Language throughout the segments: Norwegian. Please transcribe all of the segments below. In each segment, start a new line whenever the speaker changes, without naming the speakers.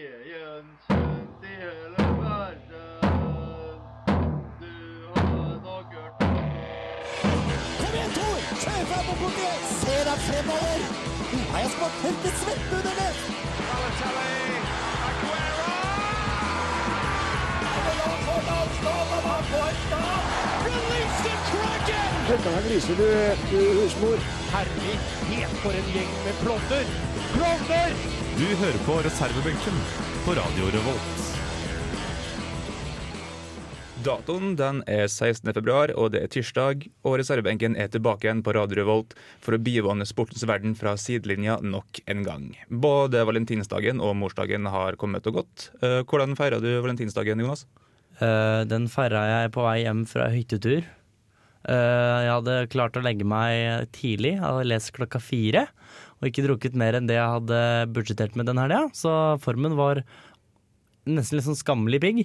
Veien kjent i hele verden. Du har nok hørt om
Kom igjen, Tor! Kjør fram og bort igjen! Se deg fremover! Du har jeg smakt helt til svette under det!
Du hører på reservebenken på Radio Revolt. Datoen den er 16. februar, og det er tirsdag. Og reservebenken er tilbake igjen på Radio Revolt for å bivåne sportens verden fra sidelinja nok en gang. Både valentinsdagen og morsdagen har kommet og gått. Eh, Hvordan feira du valentinsdagen, Jonas?
Eh, den feira jeg på vei hjem fra hyttetur. Eh, jeg hadde klart å legge meg tidlig, jeg hadde lest klokka fire. Og ikke drukket mer enn det jeg hadde budsjettert med den helga, så formen var nesten litt sånn skammelig pigg.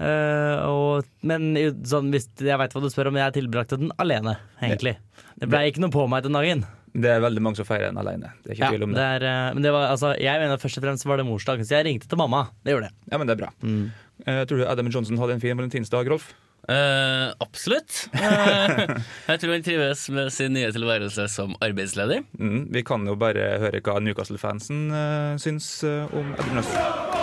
Eh, og, men i- sånn, hvis, jeg veit hva du spør om, jeg tilbrakte den alene, egentlig. Det blei ikke noe på meg den dagen.
Det er veldig mange som feirer den alene. Det er ikke
Ja,
tvil om
det
det.
er, eh, men det var, altså, jeg mener først og fremst var det morsdag, så jeg ringte til mamma. Det gjorde jeg.
Ja, men det er bra. Eh, tror du Adam Johnson hadde en fin valentinsdag, Rolf?
Eh, absolutt. Eh, jeg tror han trives med sin nye tilværelse som arbeidsledig.
Mm, vi kan jo bare høre hva Newcastle-fansen eh, syns eh, om Adam Johnson.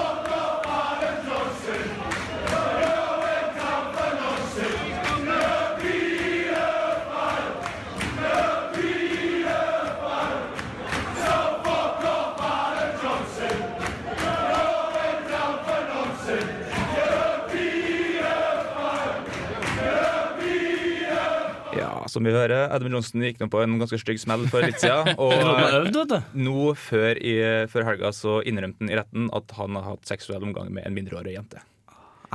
Ja, som vi hører, Adam Johnson gikk nå på en ganske stygg smell for litt siden. Og eh,
øvd, vet du.
nå før, i, før helga så innrømte han i retten at han har hatt seksuell omgang med en mindreårig jente.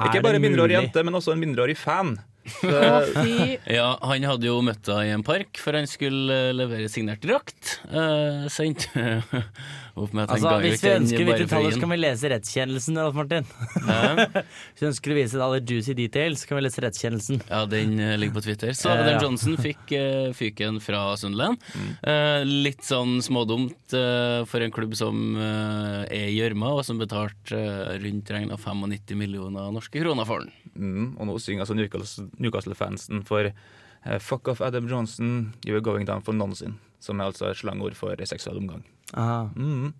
Ikke bare en mindreårig jente, men også en mindreårig fan.
Ja, Han hadde jo møtt henne i en park, for han skulle eh, levere signert drakt. Eh, sendte opp med at han
Altså,
ga ut
hvis vi
den
ønsker
bare
hvilke
for
tall, så
inn.
kan vi lese rettskjennelsen. Rolf Martin.
Hæ?
Hvis vi ønsker å vise alle juicy details, så kan vi lese rettskjennelsen.
Ja, den eh, ligger på Twitter. Så
Ja, ja. Mm.
Adam Johnson fikk eh, fyken fra Sunderland. Eh, litt sånn smådumt eh, for en klubb som eh, er i gjørma, og som betalte eh, rundt regna 95 millioner norske kroner for den.
Mm, og nå synger altså Newcastle- Newcastle-fansen for eh, Fuck off Adam Johnson, you are going down for nonsin. Som er altså et slangord for seksuell omgang.
Aha.
Mm.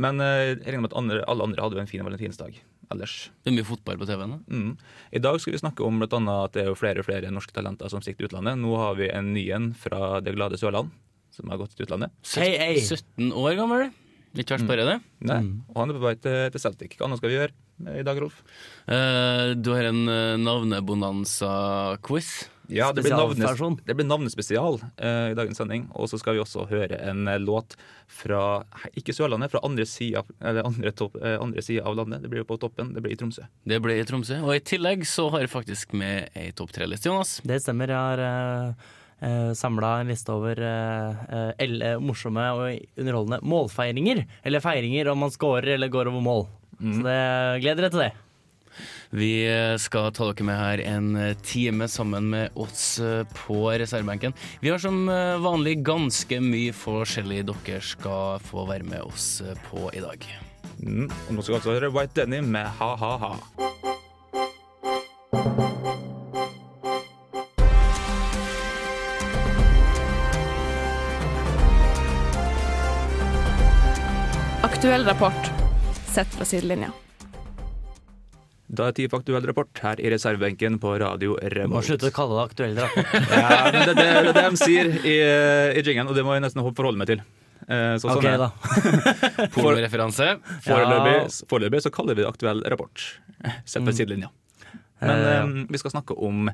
Men eh, jeg regner med at andre, alle andre hadde jo en fin valentinsdag ellers.
Det er mye fotball på TV-en. da.
Mm. I dag skal vi snakke om blant annet at det er jo flere og flere norske talenter som stikker til utlandet. Nå har vi en ny en fra det glade Sørland, som har gått til utlandet.
Hei, hei. Mm.
17 år gammel. Litt verst bare det.
Nei. Og han er på vei til, til Celtic. Hva annet skal vi gjøre i dag, Rolf?
Eh, du har en eh, navnebonanza-quiz.
Ja, det blir,
Spesialstasjon.
navnes, det blir navnespesial eh, i dagens sending. Og så skal vi også høre en eh, låt fra ikke Sørlandet, fra andre sida eller andre, topp, eh, andre siden av landet. Det blir jo på toppen, det blir i Tromsø.
Det ble i Tromsø. Og i tillegg så har jeg faktisk med ei topp tre-liste, Jonas.
Det stemmer. Jeg har uh, samla en liste over eh, eh, el- eh, morsomme og underholdende målfeiringer. Eller feiringer om man scorer eller går over mål.
Mm.
Så det, gleder dere til det.
Vi eh, skal ta dere med her en eh, time sammen med oss eh, på reservebenken. Vi har som eh, vanlig ganske mye forskjellig dere skal få være med oss eh, på i dag.
Mm. Og nå skal vi altså høre White Denny med Ha Ha Ha.
Aktuell rapport sett fra sidelinja.
Da er tid for aktuell rapport her i reservebenken på Radio
Du må
Revolt.
slutte å kalle det aktuell rapport.
Ja, men det, det, det er det de sier i, eh, i jingen, og det må jeg nesten forholde meg til. Eh, Så sånn
Ok,
er det.
da.
Pornoreferanse.
Foreløpig, foreløpig så kaller vi det aktuell rapport. Sett ved sidelinja. Men
Eh,
eh, vi skal snakke om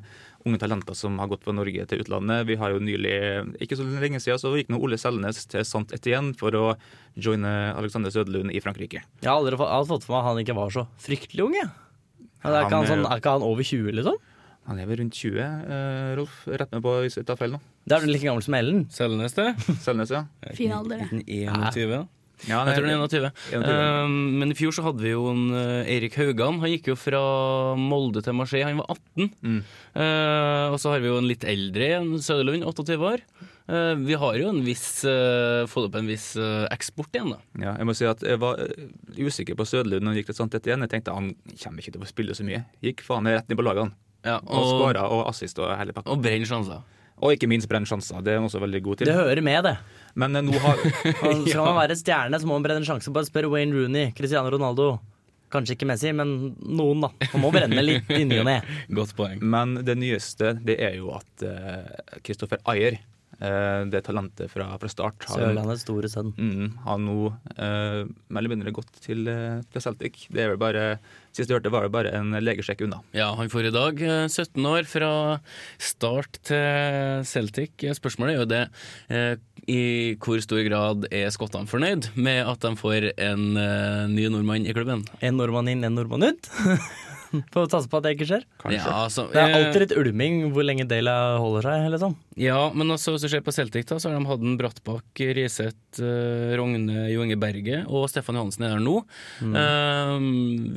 unge talenter som har gått fra Norge til utlandet. Vi har jo nylig, ikke så lenge siden, så gikk nå Ole Selnes til Sant Etienne for å joine Alexander Søderlund i Frankrike.
Jeg har aldri fått, jeg har fått for meg at han ikke var så fryktelig ung, jeg. Men er, ikke
Han
han sånn,
er-
er ikke han over 20, liksom?
Han lever rundt 20, eh, Rolf. Rett med på hvis jeg tar feil nå.
Da er du like gammel som Ellen.
Selnes, det.
Selnes, ja.
Fin alder, det.
21.
ja
Jeg tror den er 21.
21.
Eh, men i fjor så hadde vi jo en eh, Erik Haugan. Han gikk jo fra Molde til Marseille. Han var 18.
Mm.
Eh, og så har vi jo en litt eldre en, Søderlund, 28 år. Eh, Vi har jo en viss, eh, fått opp en viss eh, eksport igjen, da.
Ja, jeg må si at jeg var eh, usikker på Sødlund når han gikk til Santet igjen. Jeg tenkte han kommer ikke til å spille så mye. Gikk faen meg rett ned på lagene.
Ja,
Og
og
skåra og assist og hele pakka.
og brenner sjanser.
Og ikke minst brenner sjanser. Det er han også veldig god
Det
til.
hører med, det.
Men eh, nå har Altså,
Og skal man være stjerne, så må man brenne en sjanse. Bare spør Wayne Rooney, Cristiano Ronaldo. Kanskje ikke Messi, men noen, da. Man må brenne litt i ny og ne.
Godt poeng.
Men det nyeste det er jo at Kristoffer Ayer, eh, det talentet fra, fra start, har,
Sørlandets store sønn.
mm, har nå eh, mer eller mindre gått til, eh, til Celtic. Det er vel bare, Sist jeg hørte, var det bare en legesjekk unna.
Ja, han får i dag eh, 17 år fra start til Celtic. Spørsmålet er jo det eh, i hvor stor grad er skottene fornøyd med at de får en eh, ny nordmann i klubben?
En nordmann inn, en nordmann ut. Får satse på at det ikke skjer.
Kanskje.
Ja, altså,
Det er
eh,
alltid litt ulming hvor lenge Dela holder seg, liksom.
ja, men altså, hvis du ser på Celtic, da, så har de hatt en Brattbakk, Riseth, eh, Rogne, Jo Inge Berge og Stefan Johansen er der nå. Eh,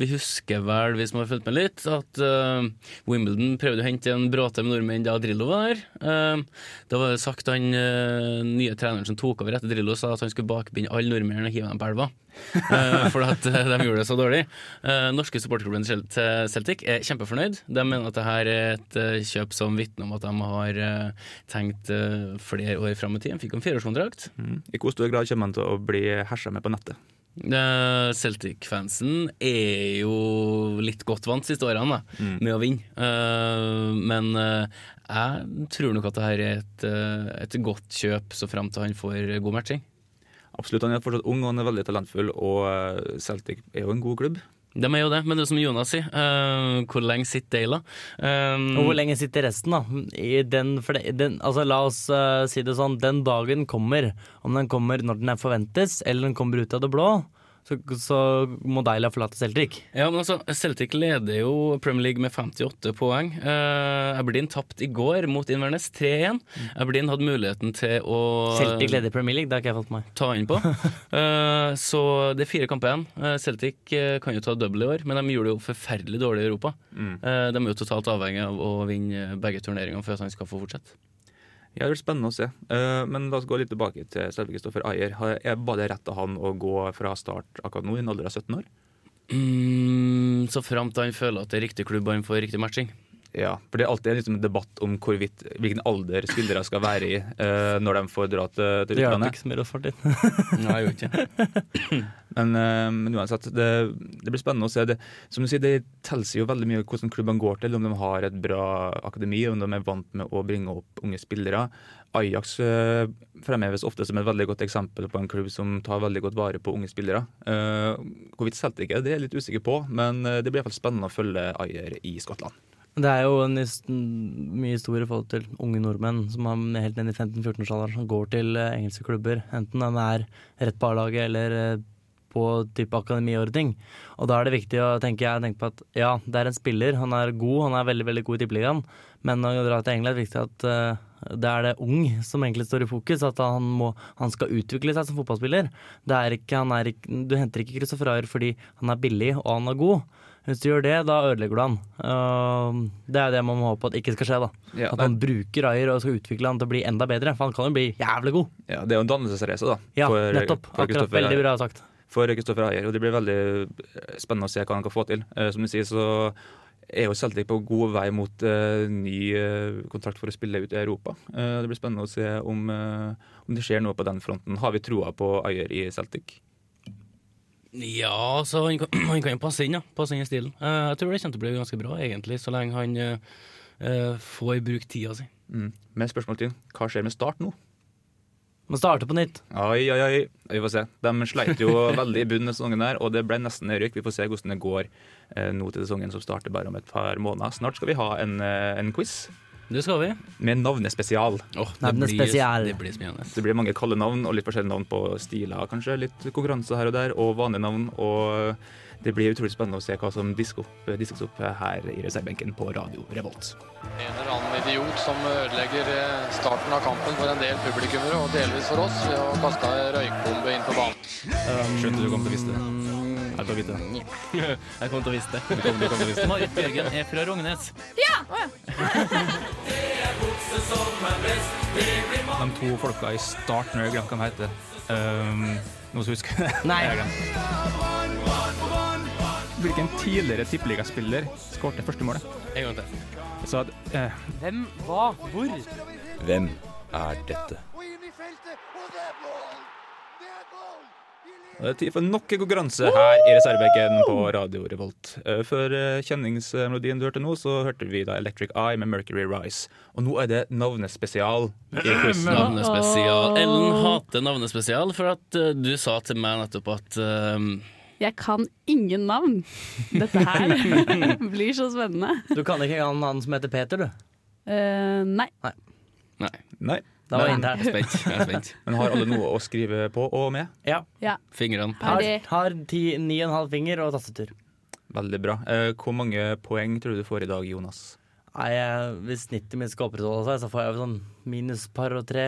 vi husker vel, vi som har fulgt med litt, at eh, Wimbledon prøvde å hente en bråte med nordmenn da Drillo var der. Eh, da var det sagt han eh, nye treneren som tok over etter Drillo, sa at han skulle bakbinde alle nordmennene og hive dem på elva. Eh, for at eh, de gjorde det så dårlig. Eh, norske supporterklubben til til Celtic er kjempefornøyd. De mener at det her er et eh, kjøp som vitner om at de har eh, tenkt eh, flere år fram i tid. De fikk en fireårskontrakt.
Mm. I hvor stor grad kommer han til å bli hersa med på nettet?
Eh, Celtic-fansen er jo litt godt vant siste årene da, med å vinne. Eh, men eh, jeg tror nok at det her er et, eh, et godt kjøp så frem til han får god matching.
Absolutt, Han er fortsatt ung og han er veldig talentfull, og eh, Celtic er jo en god klubb.
De er jo det, men det er som Jonas sier, eh, hvor lenge sitter Dale? Eh,
Og hvor lenge sitter resten, da? I den, for det, den, altså, la oss eh, si det sånn, den dagen kommer, om den kommer når den er forventes, eller den kommer ut av det blå, så, så må Deila forlate Celtic.
Ja, men altså, Celtic leder jo Premier League med 58 poeng. Eh, Aberdeen tapte i går mot Inverness 3-1. Aberdeen hadde muligheten til å
Celtic leder Premier League, det har ikke jeg fått med meg.
ta inn på. Eh, så det er fire kamper igjen. Eh, Celtic eh, kan jo ta double i år, men de gjorde det jo forferdelig dårlig i Europa. Eh, de er jo totalt avhengig av å vinne begge turneringene for at han skal få fortsette.
Ja, det blir spennende å se. Eh, men la oss gå litt tilbake til selve Kristoffer Ayer. Har- er- Var det rett av han å gå fra start akkurat nå, i en alder av 17 år?
Mm, så fram til han føler at det er riktig klubb og han får riktig matching.
Ja, for det er alltid en liksom, debatt om hvorvidt, hvilken alder spillere skal være i eh, når de får dra til, til
Det hjalp
utlandet.
ikke så mye, Rolf Martin.
Nei, jeg gjør ikke
Men, eh, men uansett, det, det blir spennende å se. Det, som du sier, det tilsier jo veldig mye hvordan klubbene går til, om de har et bra akademi, om de er vant med å bringe opp unge spillere. Ajax eh, fremheves ofte som et veldig godt eksempel på en klubb som tar veldig godt vare på unge spillere. Eh, Hvorvidt Celtic er det, er jeg litt usikker på, men eh, det blir i hvert fall spennende å følge Ayer i Skottland.
Det er jo en his- mye historie i forhold til unge nordmenn som er helt nede i 15-14-årsalderen som går til eh, engelske klubber, enten de er rett på A-laget eller eh, på type akademiordning. Og da er det viktig å tenke, jeg tenker på at ja, det er en spiller, han er god, han er veldig veldig god i tippeligaen, men når han drar til England er det viktig at eh, det er det ung som egentlig står i fokus, at han, må, han skal utvikle seg som fotballspiller. Det er ikke, han er ikke, du henter ikke Christoffer Ayer fordi han er billig og han er god. Hvis du gjør det, da ødelegger du han. Ehm, det er jo det man må håpe at ikke skal skje. da.
Ja,
at han bruker Ayer og skal utvikle han til å bli enda bedre, for han kan jo bli jævlig god.
Ja, det er jo en dannelsesreise, da.
Ja,
for-
nettopp.
for
Akkurat,
Kristoffer
veldig
Ayer.
bra sagt.
for Kristoffer Ayer, og det blir veldig eh, spennende å se hva han kan få til. Eh, Som du sier, så er jo Celtic på god vei mot eh, ny eh, kontrakt for å spille ut i Europa. Eh, det blir spennende å se om, eh, om det skjer noe på den fronten. Har vi troa på Ayer i Celtic?
Ja, så han kan, han kan jo passe inn, ja. Passe inn i stilen. Eh, jeg tror det kommer til å bli ganske bra, egentlig, så lenge han eh, eh, får brukt tida si.
Mm. Med spørsmål til hva skjer med Start nå?
Må starte på nytt.
Oi, oi, oi. Vi får se. De sleit jo veldig i bunnen denne sesongen, her, og det ble nesten nedrykk. Vi får se hvordan det går eh, nå til sesongen som starter bare om et par måneder. Snart skal vi ha en, eh, en quiz
Det skal vi.
med navnespesial.
Åh,
Nei, den er spesiell.
det blir spennende.
Det blir mange kalde navn og litt forskjellige navn på stiler, kanskje. Litt konkurranse her og der, og vanlige navn. Og det blir utrolig spennende å se hva som diskes opp, diskes opp her i reservebenken på Radio Revolt.
En eller annen idiot som ødelegger eh, starten av kampen for en del publikummere, og delvis for oss, ved å kaste ei røykbombe inn på banen.
Skjønte du kom til å vise det. Jeg tar vite det.
Jeg kommer til å vise det. Marit Bjørgen er fra Rognes.
Ja! Å, ja.
De to folka i starten, jeg har glemt hva de heter. Um, noen som husker det?
Nei.
Jeg har glemt. Hvilken tidligere tippeligaspiller skåret første målet?
En gang til.
Så at, eh,
Hvem, hva, hvor?
Hvem er dette?
Det er tid for nok en konkurranse her i reservebenken på Radio Revolt. Eh, Før eh, kjenningsmelodien du hørte nå, så hørte vi da Electric Eye med Mercury Rise. Og nå er det navnespesial i quizen.
Navnespesial. Ellen hater navnespesial, for at eh, du sa til meg nettopp at eh,
Jeg kan ingen navn. Dette her blir så spennende.
Du kan ikke engang han som heter Peter, du.
Eh, nei.
Nei,
Nei,
Da var
Nei.
jeg inne
jeg er
her.
spent. Jeg er spent.
men har alle noe å skrive på og med?
Ja.
Ja.
Fingrene.
Har,
Ferdig.
har ti, ni og en halv finger og tastetur.
Veldig bra. Eh, Hvor mange poeng tror du du får i dag, Jonas?
Nei, jeg, Hvis snittet mitt skal opprettholde seg, så får jeg vel sånn minus par og tre.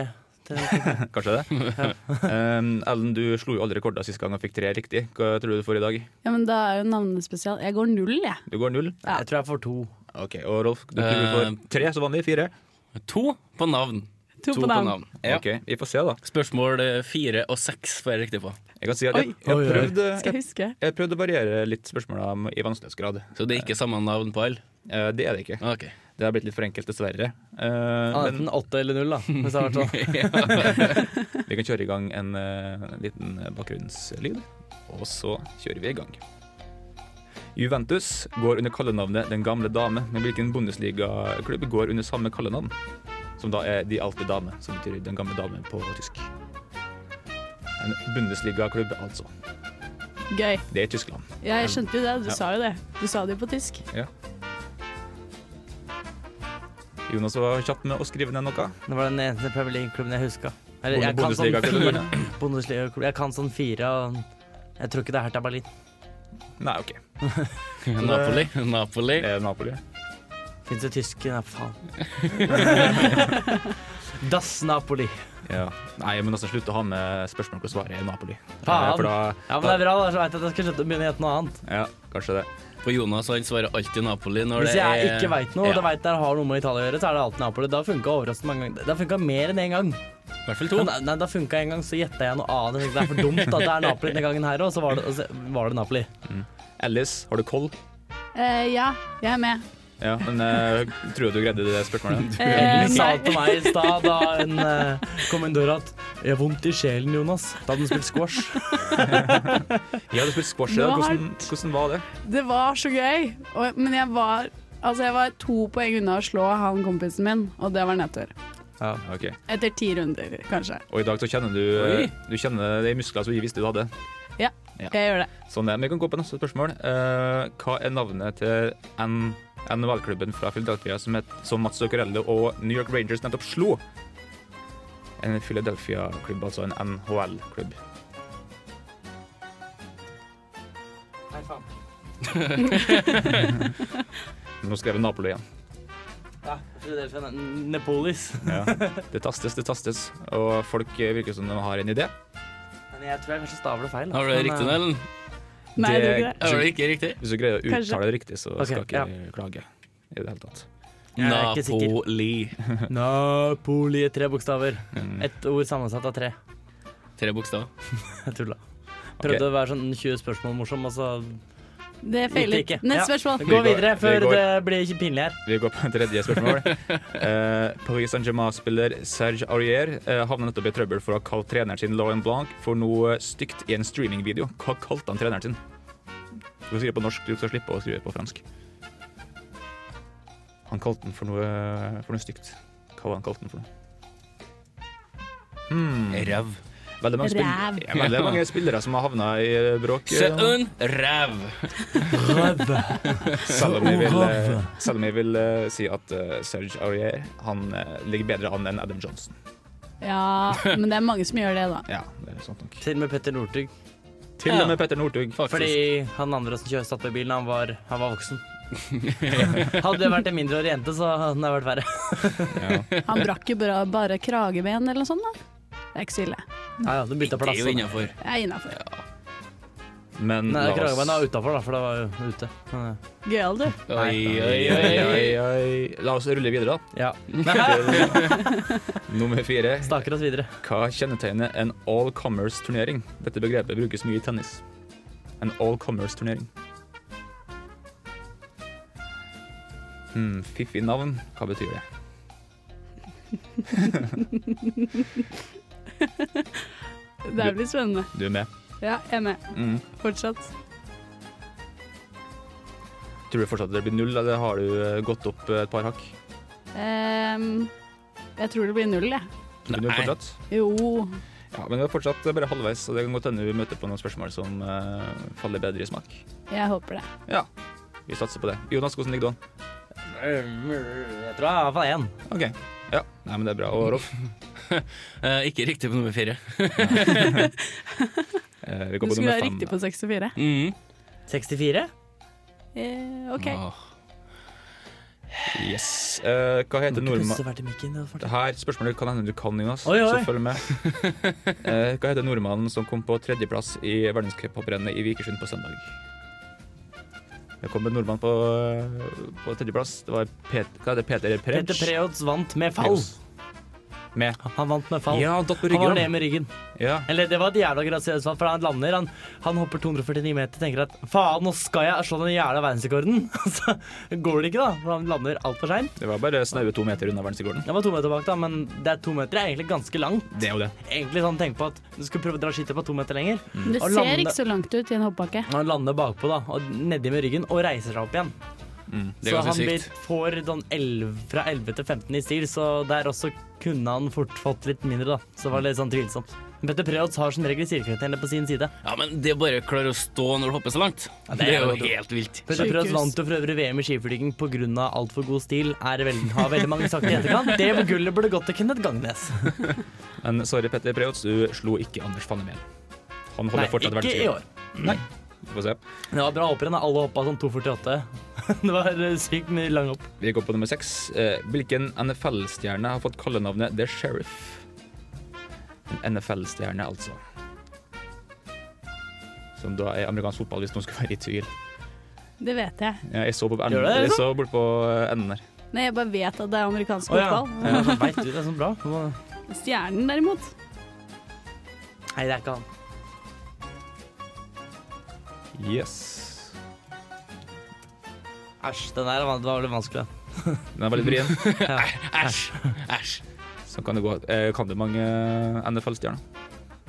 Kanskje det? um, Ellen, du slo jo alle rekorder sist gang og fikk tre riktig. Hva tror du du får i dag?
ja, men da er jo navnespesial. Jeg går null, jeg.
Du går null.
Ja.
Jeg tror jeg får to.
Ok, Og Rolf, du tror du
Eh,
får tre som vanlig? Fire?
To på navn.
To, på navn.
Ja.
Ok, Vi får se, da.
Spørsmål eh, fire og seks får jeg riktig på.
Jeg kan si at jeg,
Oi.
jeg, prøvde,
Skal
jeg,
jeg huske?
jeg prøvde å variere litt spørsmåla om- i vanskelighetsgrad.
Så det er ikke samme navn på alle?
Eh, det er det ikke.
Ok.
Det har blitt litt for enkelt, dessverre. Eh, men
Enten åtte eller null, da. Hvis det har vært sånn.
vi kan kjøre i gang en eh, liten bakgrunnslyd, og så kjører vi i gang. Juventus går under kallenavnet Den gamle dame, men hvilken Bundesliga-klubb går under samme kallenavn? Som da er De alte dame, som betyr Den gamle dame på tysk. En Bundesliga-klubb, altså.
Gøy.
Det er Tyskland.
Ja, jeg skjønte jo det. Du
Ja.
sa jo det. Du sa det jo på tysk.
Jonas var kjapp med å skrive ned noe.
Det var den eneste Premier League-klubben jeg huska. Eller, jeg, kan sånn
Bundesliga-klubben.
fire- Bundesliga-klubb. jeg kan sånn fire og Jeg tror ikke det er Hertha Berlin.
Nei, OK.
Napoli. Napoli.
Det er Napoli.
Fins det tyske Nei, faen. das Napoli.
Ja. Nei, men altså, slutt å ha med spørsmål hvor svaret er Napoli.
Faen.
Eh, For da,
Ja, men det er bra, da, så veit jeg at jeg skal slutte å begynne å gjette noe annet.
ja, kanskje det.
På Jonas han svarer alltid Napoli når det
Hvis jeg
er
ikke veit noe,
Ja,
og det veit jeg har noe med Italia å gjøre, så er det alltid Napoli. Da funka overraskende mange ganger. Det funka mer enn én gang.
I hvert fall
Men,
to.
nei, nei, da funka en gang, så gjetta jeg noe annet. Jeg tenkte, Det er for dumt at det er Napoli denne gangen her òg, så var det, og så var det Napoli.
Alice, har du koll?
Eh, ja, jeg er med.
Ja, men eh, tror du du greide det spørsmålet?
Eh,
Hun sa
nei.
til meg i stad da en eh, kom inn døra at 'Jeg har vondt i sjelen, Jonas'. Da hadde hun spilt squash.
Ja, du spilte squash. Ja.
Nå har-
Hvordan, hvordan var det?
Det var så gøy. Og, men jeg var Altså, jeg var to poeng unna å slå han kompisen min, og det var nedtur.
Ok.
Etter ti runder, kanskje.
Og i dag så kjenner du, eh, du kjenner de musklene som vi visste du hadde.
Jeg gjør det.
Sånn er det. Men Vi kan gå på neste spørsmål. Eh, hva er navnet til N- NHL-klubben fra Philadelphia som, het, som Mats Zuccarello og New York Rangers nettopp slo? En Philadelphia-klubb, altså en NHL-klubb.
Nei, faen.
Nå skrev jeg Napoli igjen.
Ja, Philadelphia Nepolis.
Det tastes, det tastes. Og folk eh, virker som de har en idé.
Men jeg tror jeg kanskje staver det feil. da.
Har du det
Men,
riktig,
eh,
Nellen?
Nei, det,
Det-
gjør ikke det.
Har du det ikke riktig?
Hvis du greier å
Kanskje.
uttale det riktig, så
Ok,
skal ikke jeg klage. I det hele tatt.
Jeg er ikke sikker.
Napoli.
Napoli, tre bokstaver.
Mm.
Ett ord sammensatt av tre.
Tre bokstaver.
Jeg tulla. Prøvde å være sånn 20 spørsmål morsom, og så
det feiler
Gikk det ikke.
ikke. Neste
Ja.
spørsmål.
Gå
går-
videre,
vi
før
går.
det blir ikke pinlig her.
Vi går på tredje spørsmål. Eh, Paris Saint-Germain-spiller Serge Aurier eh, havna nettopp i trøbbel for å ha kalt treneren sin Laurent Blanc for noe stygt i en streamingvideo. Hva kalte han treneren sin? Du kan skrive på norsk, du skal slippe å skrive på fransk. Han kalte den for noe, for noe stygt. Hva var han kalte den for noe? Hmm.
Ræv.
Veldig mange, spill
Ræv.
ja, veldig mange spillere som har havna i bråk. eh,
Sønn ræv.
Selv om jeg vil, selv om jeg vil eh, si at eh, Serge Aurier han eh, ligger bedre an enn Adam Johnson.
Ja, men det er mange som gjør det, da.
Ja, det er sant nok.
Til og med Petter Northug.
Til og med Petter Northug.
Fordi han andre som kjører satt på bilen, han var, han var voksen. Hadde det vært en mindreårig jente, så hadde det vært verre.
Han brakk jo bare, bare krageben eller noe sånt, da. Det er ikke så ille.
Ja, ja, du
Det er
bytta plass.
jo innafor.
Jeg er innafor.
Men
Nei,
la oss-
Kragerøen er utafor, da, for det var jo ute. Men, eh,
Gøyal, du.
Oi, oi,
Oi,
oi, oi.
oi, oi. La oss rulle videre, da.
Ja.
Nummer fire.
Staker oss videre.
Hva kjennetegner en all commerce-turnering? Dette begrepet brukes mye i tennis. En all commerce-turnering. Hmm, fiffig navn. Hva betyr det?
Det her blir spennende.
Du er med.
Ja, jeg er med.
Mm.
Fortsatt.
Tror du fortsatt det blir null, eller har du eh, gått opp eh, et par hakk?
Ehm, jeg tror det blir null, jeg.
Tror du null
Nei.
fortsatt?
Jo.
Ja, men vi er fortsatt eh, bare halvveis, så det kan godt hende vi møter på noen spørsmål som eh, faller bedre i smak.
Jeg håper det.
Ja, vi satser på det. Jonas, hvordan ligger du an?
Jeg tror jeg er iallfall én.
OK. Ja, nei, men det er bra. Og Rolf,
Eh, ikke riktig på nummer fire.
eh, vi
Du
går på
skulle
nummer
ha
fem.
riktig på 64.
Mm.
Mhm.
64?
Eh, OK.
Åh.
Yes. Eh, hva heter nordmann...
Pusse hvert i mikken. det var
Det
fælt.
her spørsmålet kan hende du kan, Jonas.
Oi, oi.
Så følg med. Eh, hva heter nordmannen som kom på tredjeplass i verdenscuphopprennet i Vikersund på søndag? Det kom en nordmann på, eh, på tredjeplass. Det var Pet, hva heter Peter Preg.
Petter Preodz vant med fall.
Med.
Han vant med fall.
Ja, han datt på
han var ned
ryggen.
med ryggen.
Ja.
Eller det var et jævla grasiøst fall, for han lander, han, han hopper 249 meter tenker at faen, nå skal jeg slå den jævla verdensrekorden. Så går det ikke, da, for han lander altfor seint.
Det var bare snaue to meter unna verdensrekorden.
Jeg var to meter bak, da, men det er to meter er egentlig ganske langt.
Det er jo det.
Egentlig sånn tenk på at du skulle prøve å dra skittet på to meter lenger.
Mm.
Det
Og
ser
lande-
ikke så langt ut i en hoppbakke.
Han lander bakpå, da, og nedi med ryggen, og reiser seg opp igjen.
Det er
så
ganske
han blir,
sykt.
får sånn 11, fra 11 til 15 i stil, så der også kunne han fort fått litt mindre, da. Så det var litt sånn tvilsomt. Men Petter Preodz har som regel silkekriteriene på sin side.
Ja, men det å bare klare å stå når du hopper så langt,
Ja, det
det
er
er jo
jo dumt.
helt vilt.
Petter
Sykehus.
Preus vant jo for øvrig VM i skiflyging pga. altfor god stil, er veldig, har veldig mange sagt i etterkant. Det gullet burde gått til Kenneth Gangnes.
Men sorry, Petter Preots, du slo ikke Anders Fannemel. Han holder
Nei,
fortsatt
ikke i
verdensrekorden.
år.
Vi får se.
Det var bra hopprenn. da. Alle hoppa sånn 2,48. Det var eh, sykt mye lange hopp.
Vi går på nummer seks. Eh, hvilken NFL-stjerne har fått kallenavnet The Sheriff? En NFL-stjerne, altså. Som da er amerikansk fotball, hvis noen skulle være i tvil.
Det vet jeg.
Ja, Jeg så bort på
Gjør det, liksom?
enden, jeg så bort på eh, enden der.
Nei, jeg bare vet at det er amerikansk
Å, ja.
fotball.
Ja, så vet du, det er så bra. Du må-
Stjernen derimot.
Nei, det er ikke han.
Yes.
Æsj, den der var, det var veldig vanskelig.
Den er veldig vrien.
Æsj! Æsj.
Så kan det gå. Eh, kan du mange NFL-stjerner?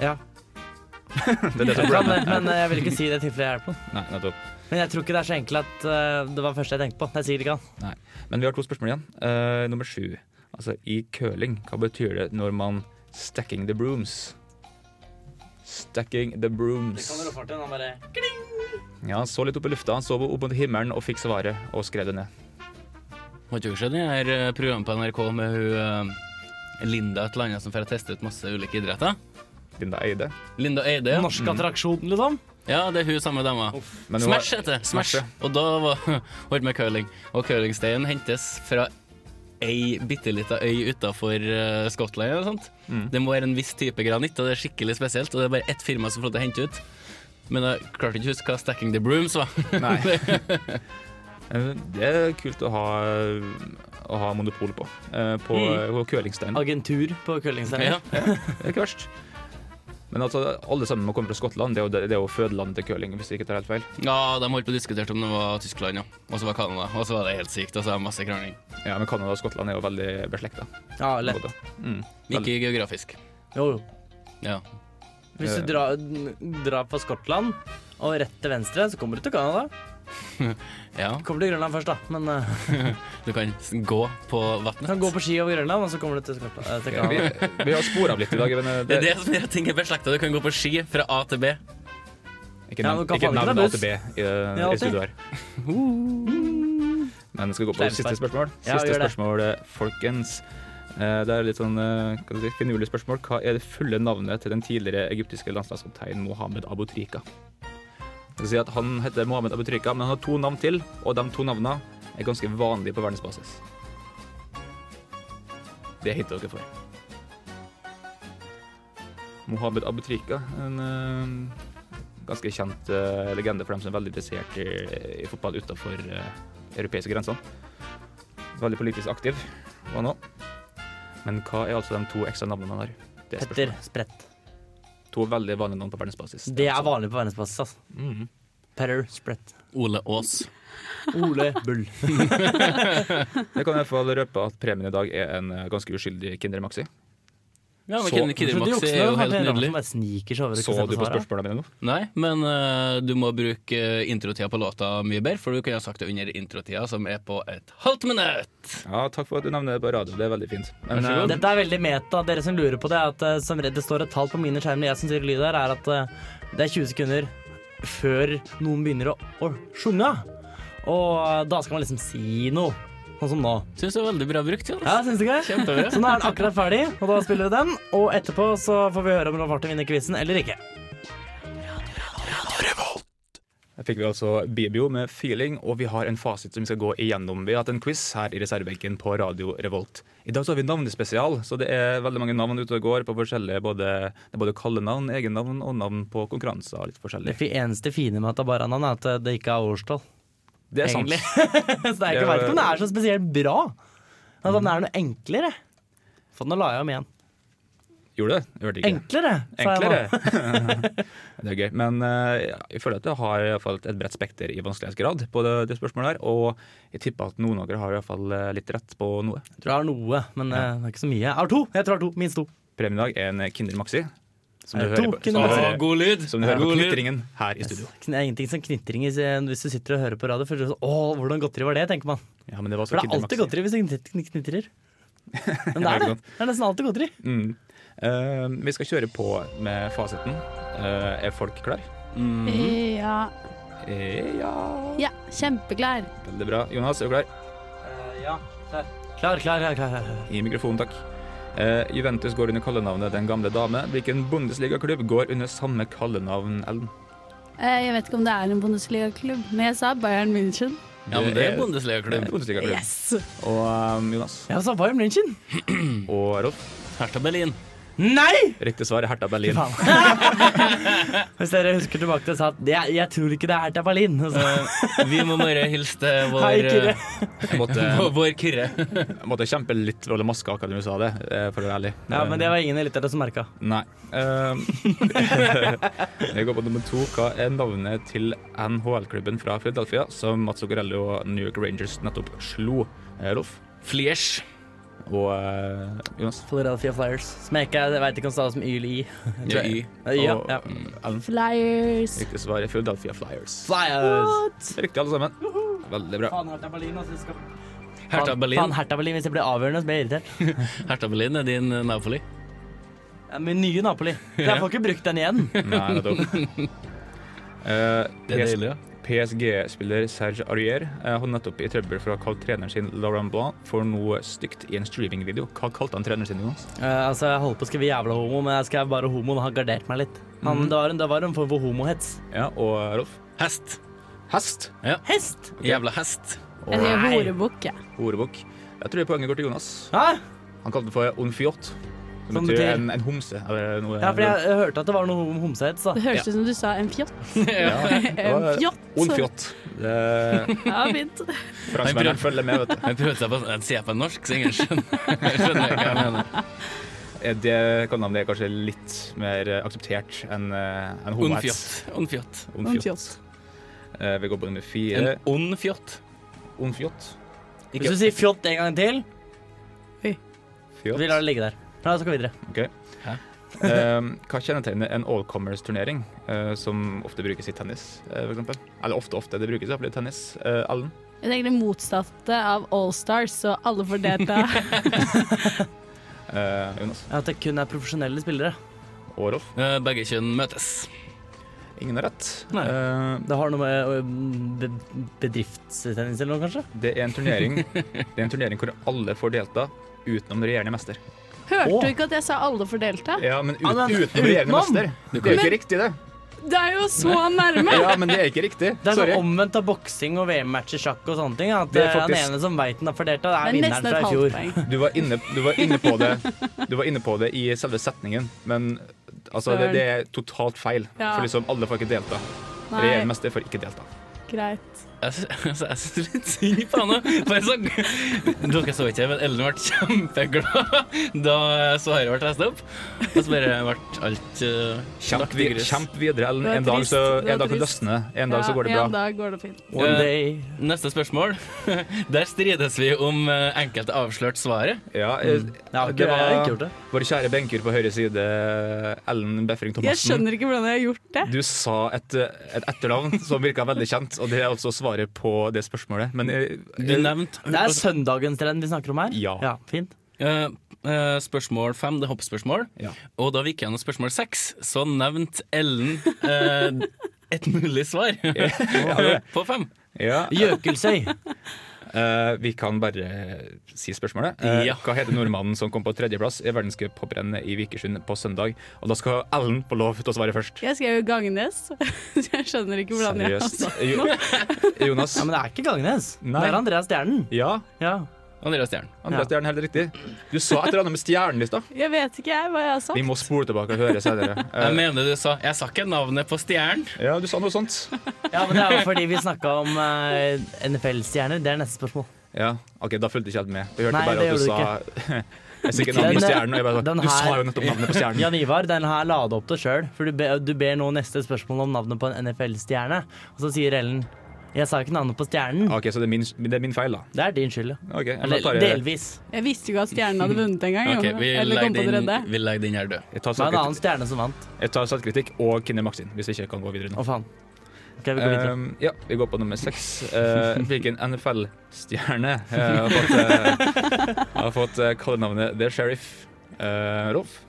Ja.
Det er det
Jeg
som
kan det,
problemet.
men eh, jeg vil ikke si det i tilfelle jeg er på den.
Nei, nettopp.
Men jeg tror ikke det er så enkelt at eh, det var det første jeg tenkte på. Jeg sier ikke han.
Men vi har to spørsmål igjen. Eh, nummer sju. Altså, i curling, hva betyr det når man stacking the brooms? Stacking the brooms. Ja, han så litt opp i lufta, han så opp mot himmelen og fikk svaret og skrev det ned.
Har ikke dere sett det her eh, programmet på NRK med hun eh, Linda et eller annet som får teste ut masse ulike idretter?
Linda Eide.
Linda Eide. ja.
Norsk attraksjon, liksom.
Ja, det er hun samme dama.
Men hun
Smash
var-
heter det. Smash.
Smash,
Og da var holdt med curling. Og curlingsteinen hentes fra ei bitte lita øy utafor eh, Skottland eller noe sånt.
Mm.
Det må være en viss type granitt, og det er skikkelig spesielt. Og det er bare ett firma som får lov til å hente ut. Men jeg klarte ikke å huske hva Stacking the Brooms var.
Nei. Eh, Det er kult å ha, å ha monopol på. eh, På,
Mm.
på curlingsteinen.
Agentur på curlingstevnet.
Ja.
Det er ikke verst. Men altså, alle sammen må komme fra Skottland. Det er jo, det, det er jo fødelandet til curling, hvis jeg ikke tar helt feil.
ja, de holdt på å diskutere om det var Tyskland, ja. Og så var Canada. Og så var det helt sykt, og så var det masse krangling.
Ja, Men Canada og Skottland er jo veldig beslekta.
Ja, lett.
både. Mm.
Ikke geografisk.
Jo, jo.
Ja.
Hvis
Eh.
du drar, drar på Skottland og rett til venstre, så kommer du til Canada.
ja.
Du kommer til Grønland først, da. Men eh,
Du kan gå på
du
vannet.
kan gå på ski over Grønland, og så kommer du til, Skottland, eh, til
Ja, vi,
Canada.
vi har spora av litt i dag. Men eh,
Det er det som er ting er beslekta. Du kan gå på ski fra A til B.
Ikke
Ja,
nevn
men kan
ikke
faen ikke
nevn
ta
AtB i, eh,
Ja,
i
alltid.
studio her. Men skal vi gå på
Sleivspark.
siste spørsmål?
Ja,
Siste
gjør det.
spørsmål, folkens. Eh, Det er litt sånn eh, hva skal jeg si, finurlig spørsmål. Hva er det fulle navnet til den tidligere egyptiske landslagskapteinen Mohammed Abutrika? Det vil si at Han heter Mohammed Abutrika, men han har to navn til, og de to navnene er ganske vanlige på verdensbasis. Det hinter dere for. Mohammed Abutrika, en eh, ganske kjent eh, legende for dem som er veldig interessert i, i fotball utenfor eh, europeiske grensene. Veldig politisk aktiv var han òg. Men hva er altså de to ekstra navnene han har? Det er
Petter
spørsmålet.
Sprett.
To veldig vanlige navn på verdensbasis.
Det er vanlig på verdensbasis, altså.
Mhm.
Petter Sprett.
Ole Aas.
Ole Bull.
Jeg kan i hvert fall røpe at premien i dag er en eh, ganske uskyldig Kinder Maxi.
Ja, men
Så-
Kinder- Kinder Maxi er jo helt nydelig.
Så du på spørsmålene mine nå?
Nei, men eh, du må bruke eh, introtida på låta mye bedre, for du kunne ha sagt det under introtida, som er på et halvt minutt!
Ja, takk for at du nevner det på radio. Det er veldig fint. Men,
Vær så god.
eh,
Dette er veldig meta. Dere som lurer på det, er at eh, som redd- det står et tall på mine skjermer, jeg som sier lyd her, er at eh, det er 20 sekunder før noen begynner å, å synge. Og eh, da skal man liksom si noe. Sånn som nå.
Syns det er veldig bra brukt. Jonas.
Ja, syns du ikke? det?
Kjempebra.
Så nå er den akkurat ferdig, og da spiller vi den. Og etterpå så får vi høre om Rolf Martin vinner quizen eller ikke.
Her fikk vi altså Bibio med 'Feeling', og vi har en fasit som vi skal gå igjennom. Vi har hatt en quiz her i reservebenken på Radio Revolt. I dag så har vi navnespesial, så det er veldig mange navn ute og går på forskjellige både, det er både kallenavn, egennavn og navn på konkurranser. Litt
Det
forskjellig.
fi- eneste fine med Atabaranavn er at eh, det ikke er årstall.
Det er sant.
egentlig. så det er ikke, jeg vet ikke om det er så spesielt bra. At den er noe enklere. For nå la jeg om igjen.
Gjorde det? Jeg hørte ikke.
Enklere, sa jeg nå.
Enklere! det er gøy. Men eh, ja, jeg føler at det har i hvert fall et bredt spekter i vanskelighetsgrad på det, det spørsmålet her. Og jeg tipper at noen av dere har i hvert fall eh, litt rett på noe.
Jeg tror jeg har noe, men eh, det er ikke så mye. Jeg har to! Jeg tror jeg har to. Minst to.
Premien i dag er en Kinder Maxi. Som du
Eh,
hører
to
på, som
Kinder
du
Maxi.
hører,
god lyd!
som du
Eh,
hører på
god lyd.
knitringen her i studio.
Det er ingenting som knitring i- eh, hvis du sitter og hører på radio. Føler du sånn Å, hvordan godteri var det? tenker man.
Ja, men det var
For
så
det er alltid
Kinder Maxi.
godteri hvis du knit- knit- knitrer. Men det
Ja, ikke
er det.
sant.
Det er nesten alltid godteri.
Mm. Eh, vi skal kjøre på med fasiten. Eh, er folk klar?
Mm.
Ja,
Eh, ja.
ja kjempeklar.
Veldig bra. Jonas, er du klar?
ja. Klar, klar, klar. klar, klar.
I mikrofonen, takk. Eh, Juventus går under kallenavnet Den gamle dame. Hvilken Bundesliga-klubb går under samme kallenavn, Ellen?
Eh, Jeg vet ikke om det er en Bundesliga-klubb, men jeg sa Bayern München.
Ja, men det er
Det er en
Bundesliga-klubb.
Bundesliga-klubb.
Yes!
Og eh, Jonas
Ja, så Bayern München.
og Rolf.
Hertha Berlin.
Nei!
Riktig svar er Hertha Berlin.
Faen. Hvis dere husker tilbake til det, sa at jeg, jeg tror ikke det er Hertha Berlin. Og Så,
Eh, vi må bare hilse til vår
Hei, Kyrre.
Jeg måtte,
eh, Vår Kyrre.
jeg måtte kjempe litt for å holde maska akkurat når du sa det, eh, for å være ærlig.
ja, men det var ingen lyttere som merka.
Nei. Ehm, Jeg går på nummer to. Hva er navnet til NHL-klubben fra Philadelphia som Mats Zuccarello og New York Rangers nettopp slo? Eh, Rolf
Fliers.
og eh, Jonas.
Philadelphia Flyers. Som jeg ikke jeg vet ikke om staves med y eller i.
Ja, y.
Ja,
og
ja.
Ellen.
Flyers.
Riktig svar er Philadelphia Flyers.
Flyers!
Riktig, alle sammen. Veldig bra.
Faen, Hertha Berlin, altså. Skal...
Hertha
Faen,
Berlin.
Hertha Berlin, hvis det blir avgjørende, så blir jeg irritert.
Hertha Berlin er din eh, Napoli.
Ja, Min nye Napoli. Jeg får ikke brukt den igjen.
Nei, nettopp. Eh,
Det er
PS
deilig, ja.
PSG-spiller Serge Arrier eh, har nettopp i trøbbel for å ha kalt treneren sin Laurent Blanc for noe stygt i en streamingvideo. Hva kalte han treneren sin, Jonas?
Eh, altså, Jeg holdt på å skrive jævla homo, men jeg skrev bare homo. Han har gardert meg litt. Han, det, var en, det var en form for homohets.
Ja, og
eh,
Rolf?
Hest.
Hest.
Hest!
Jævla hest.
Jeg sier horebukk, jeg.
Ordbok. Jeg tror poenget går til Jonas.
Hæ?
Han kalte det for onfiot. Som
Som
betyr
betyr-
en, en homse. Eller noe.
Ja, for jeg, jeg hørte at det var noe hom- homsehets. da.
Det høres ut som du sa en fjott.
det
En
var-
fjott.
Onfiot. Det-
Ja, fint.
Franskmennene følger med, vet du.
Jeg prøvde seg på Jeg sier jeg på norsk, så ingen skjønner. Jeg skjønner hva jeg mener.
Det kan navnet er kanskje litt mer akseptert enn eh, enn homohets.
Onfjott. Onfjott.
Onfiot. Eh, Vi går på nummer
En
fire.
ond fjott.
Onfiot.
Hvis du sier fjott en gang til, så
Fjot.
vil jeg la det ligge der. Ja, så går vi videre.
Eh, Hva kjennetegner en all-commerce-turnering, eh, som ofte brukes i tennis, eh, for eksempel? Eller ofte, ofte. Det brukes iallfall i tennis. Eh, Ellen?
Jeg tenker det motsatte av Allstars, så alle får delta.
Eh, Jonas?
At det kun er profesjonelle spillere.
Og Rolf?
Eh, Begge kjønn møtes.
Ingen har rett.
Nei.
Eh,
Det har noe med ø, be- bedriftstennis eller noe, kanskje?
Det er en turnering Det er en turnering hvor alle får delta utenom regjerende mester.
Hørte du ikke at jeg sa alle får delta?
Ja, men, ut,
Ja, men
utenom regjerende
utenom?
mester. Det er jo ikke riktig, det.
Det er jo så nærme!
Ja, men det er ikke riktig.
Det er
Sorry.
sånn omvendt av boksing og VM-match i sjakk og sånne ting. At
Det er
eh, den
faktisk-
ene som veit den har fordelt, det
Det
er
er
vinneren
nesten
fra
et
i
halvt
fjor.
poeng.
Du var, inne, du, var inne på det, du var inne på det i selve setningen, men Altså, det, det er totalt feil.
Ja.
For liksom, alle får ikke delta.
Nei,
Regjeringsmester får ikke delta.
greit.
Jeg sy- altså, jeg syns litt synd på henne. Bare sånn Dere så ikke, men Ellen ble kjempeglad da Sverre ble lest opp. Og så bare ble alt eh,
Kjemp,
lagt i
vid
grus.
kjemp videre. Ellen.
Det var
En dag
trist.
så,
Det var
en dag så
trist.
løsner det. En dag
ja,
så går det
En
bra.
dag går det fint.
One
Eh,
day.
Neste spørsmål. Der strides vi om eh, enkelte avslørt svaret.
Mm.
Ja, eh,
Jeg har
det
ikke, jeg har ikke
var
gjort det.
vår kjære benker på høyre side, Ellen Befring
Jeg
Thomassen.
skjønner ikke hvordan jeg har gjort det.
Du sa et, et etternavn som virka veldig kjent, og det er altså svaret på det spørsmålet. Men eh,
Du nevnte
Det er søndagens trend vi snakker om her.
Ja.
fint.
Eh, eh, spørsmål fem, det er hoppspørsmål.
Ja.
Og da vi gikk gjennom spørsmål seks, så nevnte Ellen eh, et mulig svar på fem.
ja,
Gjøkelsøy.
eh, vi kan bare si spørsmålet. Eh,
Ja.
Hva heter nordmannen som kom på tredjeplass i verdenscuphopprennet i Vikersund på søndag? Og da skal Ellen få lov til å svare først.
Jeg skrev jo Gangnes, så jeg skjønner ikke hvordan jeg har
Seriøst.
sagt
Jo, Jonas.
Ja, men det er ikke Gangnes.
Nei.
Det er Andreas Stjernen.
Ja,
Ja.
Andreas Stjern.
Andreas,
Ja.
det er den helt riktig. Du sa et eller annet med stjernelista.
Jeg vet ikke jeg hva jeg har
Vi
sagt.
må spole tilbake og høre senere. Eh,
Jeg mener du sa Jeg sa ikke navnet på stjernen.
ja, du sa noe sånt.
ja, men det er jo fordi vi snakka om eh, NFL-stjerner. Det er neste spørsmål.
Ja, ok, Da fulgte ikke helt med. Jeg hørte
Nei,
bare
det
at du sa
gjorde
Jeg sikkert navnet på
Den-
stjernen. Og jeg bare,
den
sa, du sa
her-
jo nettopp navnet på stjernen.
Jan Ivar, den her la du opp til sjøl, for du, be, du ber nå neste spørsmål om navnet på en NFL-stjerne. Og så sier Ellen Jeg sa jo ikke navnet på stjernen.
Ok, Så det er min, det er min feil, da.
Det er din skyld, ja.
Ok, jeg,
Eller
tar, jeg,
delvis.
Jeg visste jo ikke at Stjernen hadde vunnet engang.
Ok, vi
Okay, Eller kom på
legger
det
den,
redde.
vi legger den her død.
jeg tar
Det var en annen
selvkritikk-
stjerne som vant.
jeg tar selvkritikk og Kinne Maxin, hvis jeg ikke kan gå videre nå.
Å, faen. Ok, vi går videre.
Eh, ja, vi går på nummer seks. Eh, hvilken NFL-stjerne eh, har fått, eh, har fått eh, kallenavnet The Sheriff? Uh, Rolf?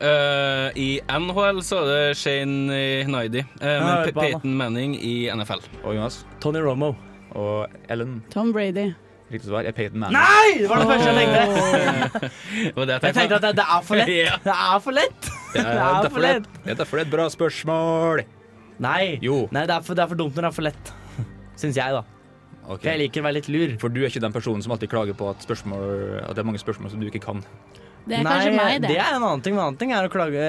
Eh, I NHL så er det Shane Hnaidi, eh,
Ja,
men Pe-
bra da.
Peyton Manning i NFL.
Og Jonas?
Tony Romo.
Og Ellen?
Tom Brady.
Riktig svar er Peyton Manning.
Nei! Det var det første jeg tenkte.
Det var det jeg
Jeg tenkte
tenkte.
at det, det er for lett.
Ja.
Det er
Det er derfor
for lett. Det er for
det,
lett.
det er derfor det er et bra spørsmål.
Nei,
Jo.
Nei det, er for, det er for dumt når det er for lett. Syns jeg, da.
Ok.
For jeg liker å være litt lur.
For du er ikke den personen som alltid klager på at, spørsmål, at det er mange spørsmål som du ikke kan.
Det er kanskje meg, det.
er en annen ting. En annen ting er å klage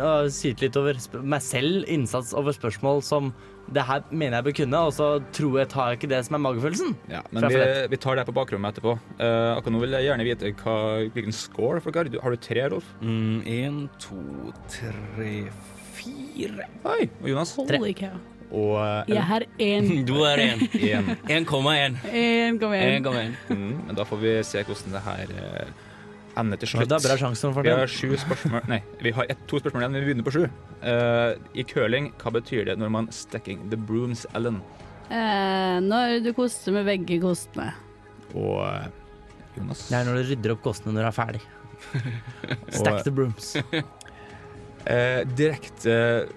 å syte litt over sp- meg selv, innsats over spørsmål som det her mener jeg bør kunne, og så tror jeg tar jeg ikke det som er magefølelsen.
men
For
vi,
jeg er for
vi tar det på bakrommet etterpå. Eh, akkurat nå vil jeg gjerne vite hva, hvilken score folk har. Du- Har du tre, Rolf?
Mm, en, to, tre, fire
Hei, og Jonas.
Holy cow.
Og eh,
Jeg har én.
Du er en.
Ellen.
1,1.
Én, kom igjen.
1,1.
Mm, men da får vi se hvordan det her eh, ender til
Det
slutt.
er bra sjanser for
Vi
det.
har sju spørsmål Nei, vi har ett, to spørsmål igjen, men vi begynner på sju. Eh, I curling, hva betyr det når man 'stacking the brooms', Ellen?
Eh, når du koster med begge kostene.
Og eh, Jonas.
Det er når du rydder opp kostene når du er ferdig. Stack the brooms.
Eh, direkte eh,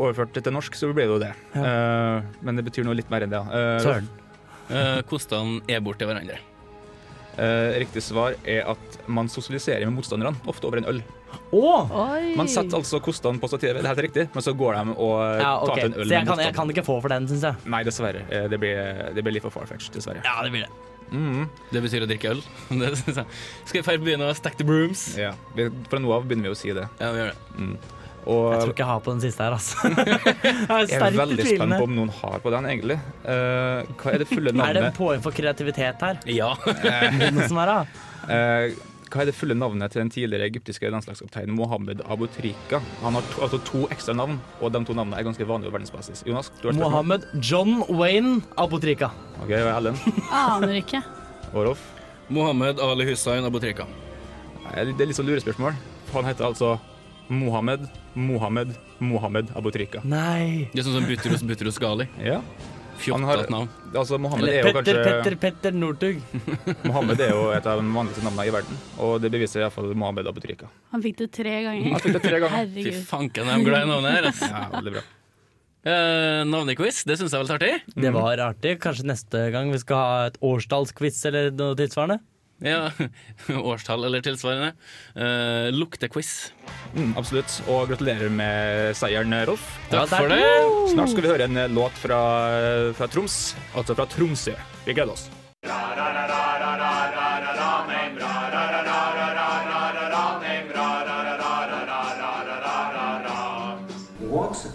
overført til norsk, så ble det jo det. Eh, men det betyr noe litt mer enn det. ja. Eh,
Søren.
Eh, Kostene er borti hverandre.
eh, riktig svar er at man sosialiserer med motstanderne, ofte over en øl.
Å!
Oi!
Man setter altså kostene på stativet, det er helt riktig, men så går de og
Ja,
tar
ok.
til en øl med
Så jeg kan, jeg
motstanderen.
kan ikke få for den, syns jeg.
Nei, dessverre. Eh, det, blir, det blir litt for farfetched, dessverre.
Ja, det blir det.
Mhm.
Mm. Det betyr å drikke øl. Det synes jeg. Skal vi ferd begynne å stack the brooms?
ja. Vi, fra nå av begynner vi å si det.
Ja, vi gjør det.
Jeg tror
Og
ikke jeg har på den siste her, altså. Jeg
jeg er veldig spent på om noen har på den, egentlig. Eh, hva er det fulle
Er det
navnet
poeng for kreativitet her?
Ja.
Noe som er, da?
Eh, hva er det fulle navnet til den tidligere egyptiske landslagskapteinen Mohammed Abutrika? Han har to, altså to ekstra navn, og de to navnene er ganske vanlige på verdensbasis. Jonas, du har et spørsmål.
Mohammed John Wayne Abotrika.
Ok, og Ellen
Aner ikke.
og Rolf.
Mohammed Ali Hussein Abutrika.
Nei, Det er litt sånn lurespørsmål. Han heter altså Mohammed, Mohammed, Mohammed Abutrika.
Nei.
Det er sånn som Butros Butros Gali.
Ja. Han har-
Fjottet navn.
Altså, Mohammed er
Eller
jo
Petter,
kanskje Mhm.
Petter, Petter Northug.
Mohammed er jo et av de vanligste navnene i verden, og det beviser iallfall Mohammed Abutrika.
Han fikk det tre
Han
ganger.
fikk det tre ganger.
Fy
Herregud.
fanken, de er glad i navnet her. Altså.
Ja, veldig bra.
Eh, navnequiz, det syns jeg er veldig artig.
Det var artig. Kanskje neste gang vi skal ha et årstallsquiz eller noe tilsvarende?
Ja. Årstall eller tilsvarende. Eh, luktequiz.
Mm, absolutt. Og gratulerer med seieren, Rolf.
Ja,
Takk for
takk.
det.
Snart skal vi høre en eh, låt fra, eh, fra Troms, altså fra Tromsø. Vi gleder oss.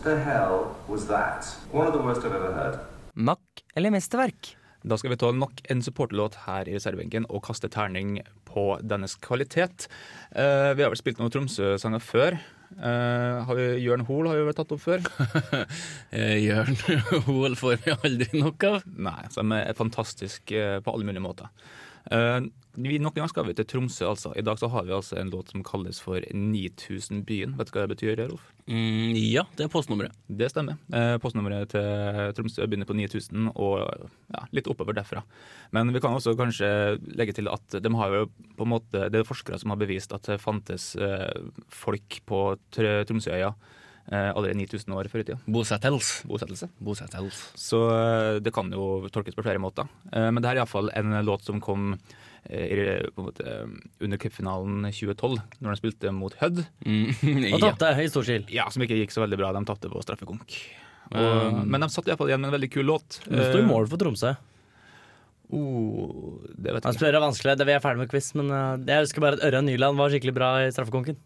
the hell was that? One of the worst I've ever heard.
Makk eller mesterverk?
Da skal vi ta nok en supporterlåt her i reservebenken og kaste terning på dennes kvalitet. Eh, vi har vel spilt noen Tromsø-sanger før. Eh, har vi, Jørn Hoel har vi vel tatt opp før?
Eh, Jørn Hoel får vi aldri nok av.
Nei, som er fantastisk eh, på alle mulige måter. Eh, vi, nok en gang skal vi til Tromsø, altså. I dag så har vi altså en låt som kalles for 9000-byen. Vet du hva det betyr, Rolf?
Mm, ja, det er postnummeret.
Det stemmer. Eh, Postnummeret til Tromsø begynner på 9000 og ja, litt oppover derfra. Men vi kan også kanskje legge til at de har jo på en måte, det er forskere som har bevist at det fantes eh, folk på Tr- Tromsøya eh, allerede 9000 år før i tida.
Bosettels.
Bosettelse.
Bosettels.
Så eh, det kan jo tolkes på flere måter. Eh, Men det her er iallfall en låt som kom eh, i- på en måte, eh, under cupfinalen 2012, når de spilte mot Hødd.
Mm,
Og
ja.
tapte høy storskil.
Ja, Som ikke gikk så veldig bra. De tapte på straffekonk. Og,
Eh,
men de satt iallfall igjen med en veldig kul låt.
Du sto i mål for Tromsø.
Eh, oh, det vet jeg
Han
Altså-
ikke.
spør er vanskelig, det vi er ferdig med quiz, men eh, jeg husker bare at Ørjan Nyland var skikkelig bra i straffekonken.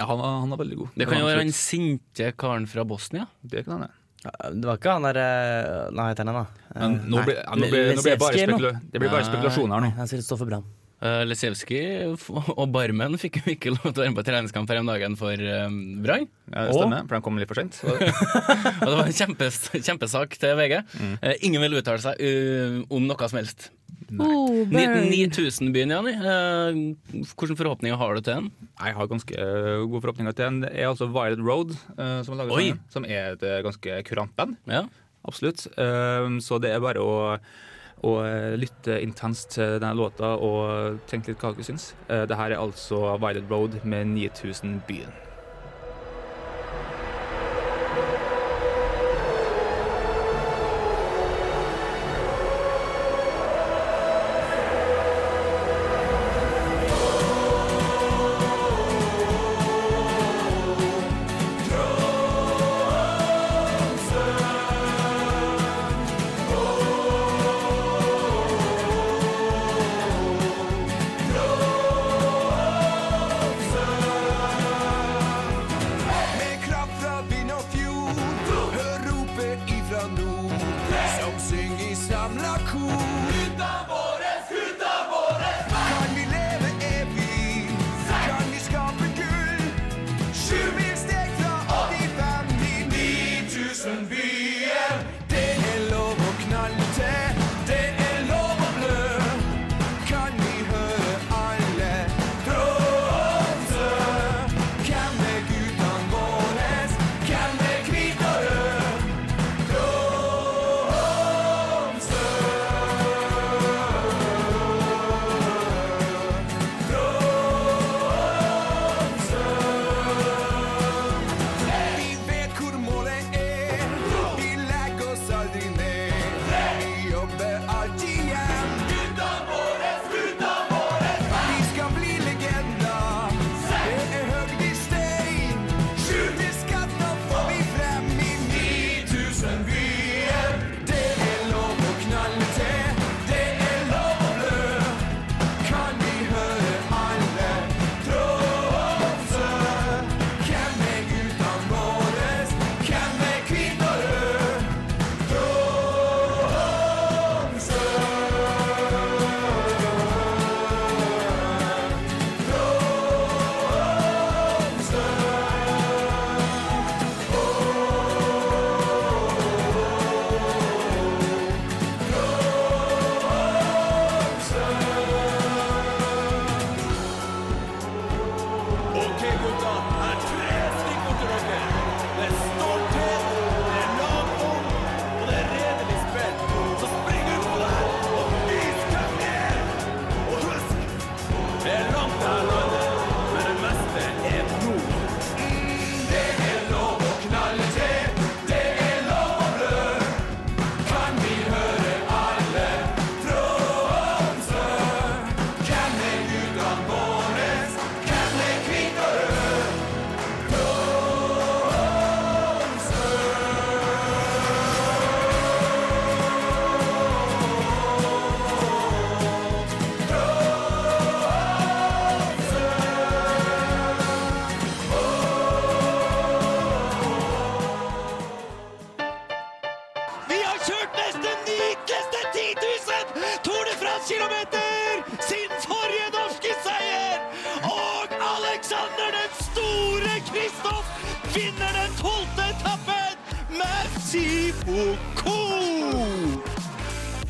Ja, han, var- han var veldig god.
Det kan jo
var
være
absolutt-
han sinte karen fra Bosnia.
Det kan han, ja.
Ja, Det var ikke han der eh, Nei, hva heter han, da? Eh,
Men nå
nei,
blir ja, nå blir- nå blir det bare
Lesevskij eller noe?
spekula- det blir bare
Nei. Eh,
spekulasjoner her nå.
Han sier Stoffer Brann.
Uh, Lesevskij f- og barmen fikk jo ikke lov til å være med på treningskamp her om dagen for um, Brann.
Ja, det stemmer, for de kom litt for sent.
Og det var en kjempes, kjempesak til VG. Eh, ingen vil uttale seg uh, om noe som helst.
Oh,
Ni-
burn.
9000-byen, Jani. Uh, hvilke forhåpninger har du til den?
Jeg har ganske eh, gode forhåpninger til den. Det er altså Violet Road eh, som har laget
Oi.
sangen, som er et eh, ganske kurant band.
Ja.
Absolutt. Ehm, Så det er bare å, å lytte intenst til denne låta og tenke litt hva dere syns. Eh, Det her er altså Violet Road med 9000 Byen.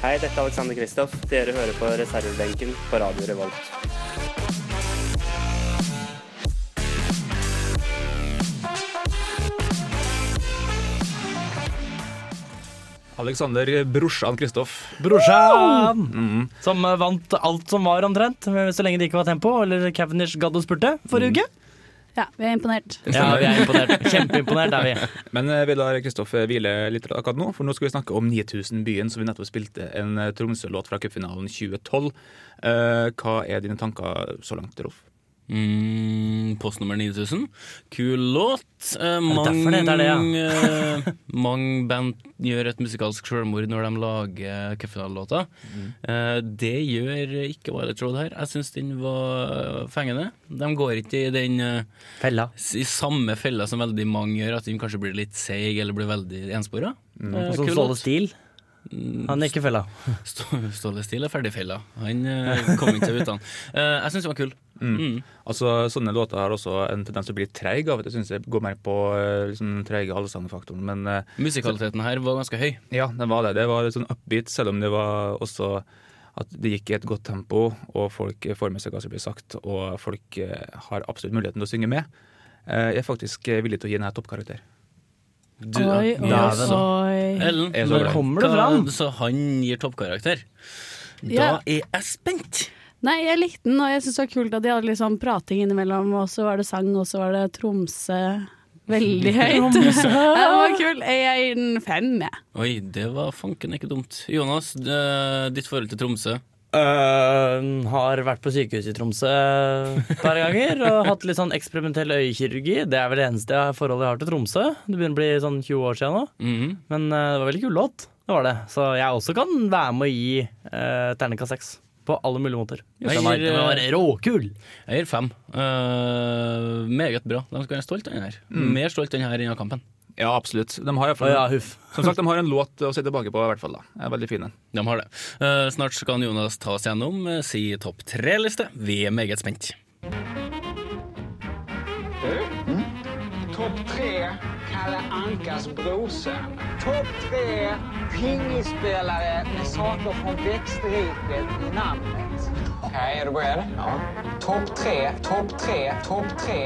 Hei, dette er Alexander Kristoff. Dere hører på reservebenken på Radio Revolt.
Alexander brorsan Kristoff.
Brorsan!
Mm.
Som eh, vant alt som var, omtrent. eh, Så lenge det ikke var tempo. Eller Cavendish gadd å spurte forrige uke.
Ja, vi er imponert.
Mm. Ja, vi er imponert. Kjempeimponert er vi.
Men eh, vi lar Kristoffer hvile litt akkurat nå, for nå skal vi snakke om 9000-byen, som vi nettopp spilte en eh, Tromsø-låt fra cupfinalen 2012. Eh, hva er dine tanker så langt, Rolf?
Mm, postnummer 9000. Kul låt. Eh,
derfor det heter det, ja?
eh, mange band gjør et musikalsk selvmord når de lager cupfinalelåter.
Mm.
Eh, det gjør ikke Violet Road her. Jeg syns den var fengende. De går ikke i den eh,
Fella.
s- i samme fella som veldig mange gjør, at den kanskje blir litt seig eller blir veldig enspora. Eh,
Og så
kul
Mm. Altså, Ståle
låt.
Stil. Han er ikke fella.
Stå- Ståle Stil er ferdig fella. Han eh, kom ikke seg ut, han. Eh, jeg syns den var kul. Mm.
Altså, Sånne låter har også en tendens til å bli treig av og til, syns jeg. Går mer på eh, liksom, den treige allsangfaktoren. Men eh,
Musikaliteten her var ganske høy.
Ja, det var det. Det var litt sånn upbeat, selv om det var også at det gikk i et godt tempo, og folk får med seg hva som blir sagt, og folk eh, har absolutt muligheten til å synge med. Eh, Jeg er faktisk eh, villig til å gi denne toppkarakter.
Du,
oi,
ja,
oi,
altså.
oi.
Ellen,
Jeg så
når
det.
Kommer det fram?
Så han gir toppkarakter. Da
Ja.
er jeg spent!
Nei, jeg likte den, og jeg syns det var kult at de hadde litt sånn prating innimellom, og så var det sang, og så var det Tromsø veldig høyt. Ja, det var kult. Jeg gir den fem, jeg.
Oi, det var fanken ikke dumt. Jonas, d- ditt forhold til Tromsø.
Øh, har vært på sykehuset i Tromsø et par ganger og hatt litt sånn eksperimentell øyekirurgi. Det er vel det eneste jeg- forholdet jeg har til Tromsø. Det begynner å bli sånn 20 år siden nå.
Mhm.
Men øh, det var veldig kul låt. Det var det. Så jeg også kan være med å gi uh, terningkast seks. På alle mulige måter.
Jeg
Den var,
gir,
den var råkul!
Jeg gir fem. Eh, meget bra. De skal være stolt av den her. Mer stolt av den her enn av kampen.
Ja, absolutt. De har, i hvert
Å
fall-
ja, huff.
som sagt, de har en låt å se tilbake på, i hvert fall. da. Det er veldig fin. en.
De har det. Eh, snart skal Jonas ta oss gjennom eh, si topp tre-liste. Vi er meget spent.
Topp tre Kalle Ankas brorsa. Topp tre pingisspelare med saker från växtriket i namnet. Okej, är du beredd? Ja. Topp tre, topp tre, topp tre.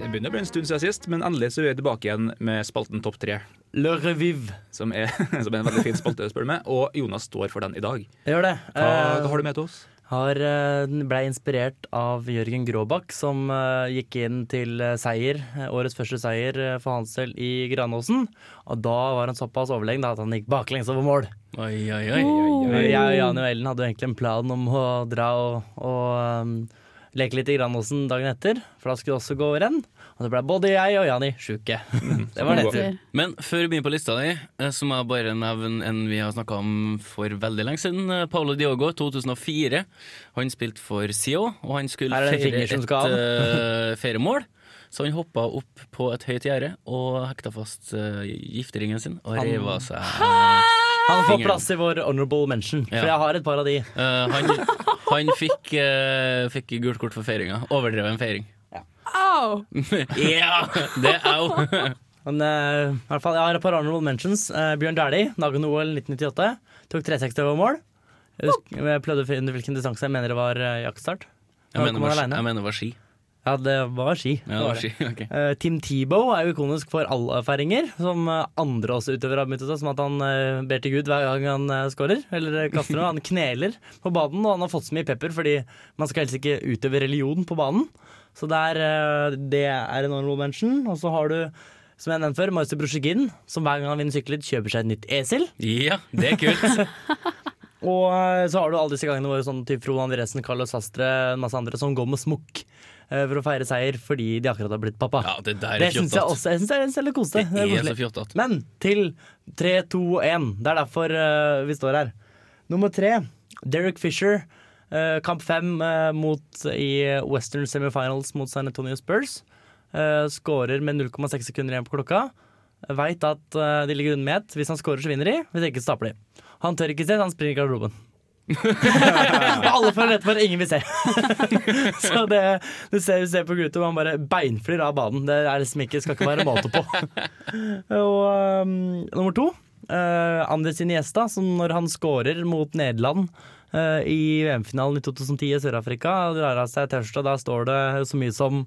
Det begynner å bli en stund siden sist, men endelig så er vi tilbake igjen med spalten Topp tre.
Le Revive.
Som er, som er en veldig fin spalte, spør du meg. Og Jonas står for den i dag.
Jeg gjør det.
Hva,
Eh,
hva har du med til oss?
Har, eh, ble inspirert av Jørgen Gråbakk, som eh, gikk inn til eh, seier, eh, årets første seier eh, for hans del i Granåsen. Og da var han såpass overlegen da, at han gikk baklengs over mål.
Oi, oi, oi.
Eh, Jeg og Jan og Ellen hadde jo egentlig en plan om å dra og, og eh, leke litt i Granåsen dagen etter, for da skulle det også gå renn. Og det ble både jeg og Jani sjuke. Det var nedtur.
Men før vi begynner på lista di, eh, så må jeg bare nevne en vi har snakka om for veldig lenge siden. Eh, Paolo Diogo, 2004. Han spilte for Sio, og han skulle
Er det en
feire
finger som skal av?
et feriemål. Så han hoppa opp på et høyt gjerde og hekta fast eh, gifteringen sin og
Han-
reiv av seg
Han får
fingeren.
plass i vår honorable mention,
Ja.
for jeg har et par av de.
Eh, han, han fikk, eh, fikk gult kort for feiringa. Overdreven feiring.
Au!
Ja! Det er au!
Men eh, i hvert fall, jeg har et par honorable mentions. Eh, Bjørn Dæhlie, Dagen-OL 1998. Tok 360 over mål. Jeg, husker, jeg prøvde å finne hvilken distanse jeg mener det var eh, jaktstart.
Jeg mener, det
Kom
var,
alene.
jeg mener det var ski.
Ja, det var ski.
Ja, det var ski. ok.
Eh, Tim Tebow er jo ikonisk for allfeiringer, som eh, andre også utøvere har benyttet seg som at han eh, ber til Gud hver gang han eh, scorer, eller eh, kaster noe. Han kneler på banen, og han har fått så mye pepper fordi man skal helst ikke utøve religion på banen. Så det er, eh, det er en honorable mention. Og så har du, som jeg nevnte før, Marcy Brosjegin, som hver gang han vinner sykkelritt, kjøper seg et nytt esel.
Ja, det er kult.
Og eh, så har du alle disse gangene våre sånn typ Frode Andresen, Carlos Astre, en masse andre som går med smokk eh, for å feire seier fordi de akkurat har blitt pappa.
Ja, det der er
Det syns jeg
fjottat.
også. Jeg synes det er- det er litt koselig.
Det
Det
er
er
så
koselig.
fjottat.
Men til 3, 2, 1. Det er derfor eh, vi står her. Nummer tre, Derek Fisher. eh, kamp fem eh, mot, i Western Semifinals mot San Antonio Spurs. Uh, Skårer med 0,6 sekunder igjen på klokka. Veit at eh, de ligger under med ett. Hvis han skårer, så vinner de. Hvis ikke, så taper de. Han tør ikke se, så han springer i garderoben. Alle følger etter, men ingen vil se. Så det, du ser, du ser på Guto, han bare beinflyr av banen. Det er liksom ikke, skal ikke være måte på. Og ehm, nummer to, uh, Andres Iniesta, som når han scorer mot Nederland eh, i VM-finalen i 2010 i Sør-Afrika, drar av seg T-skjorta, da står det så mye som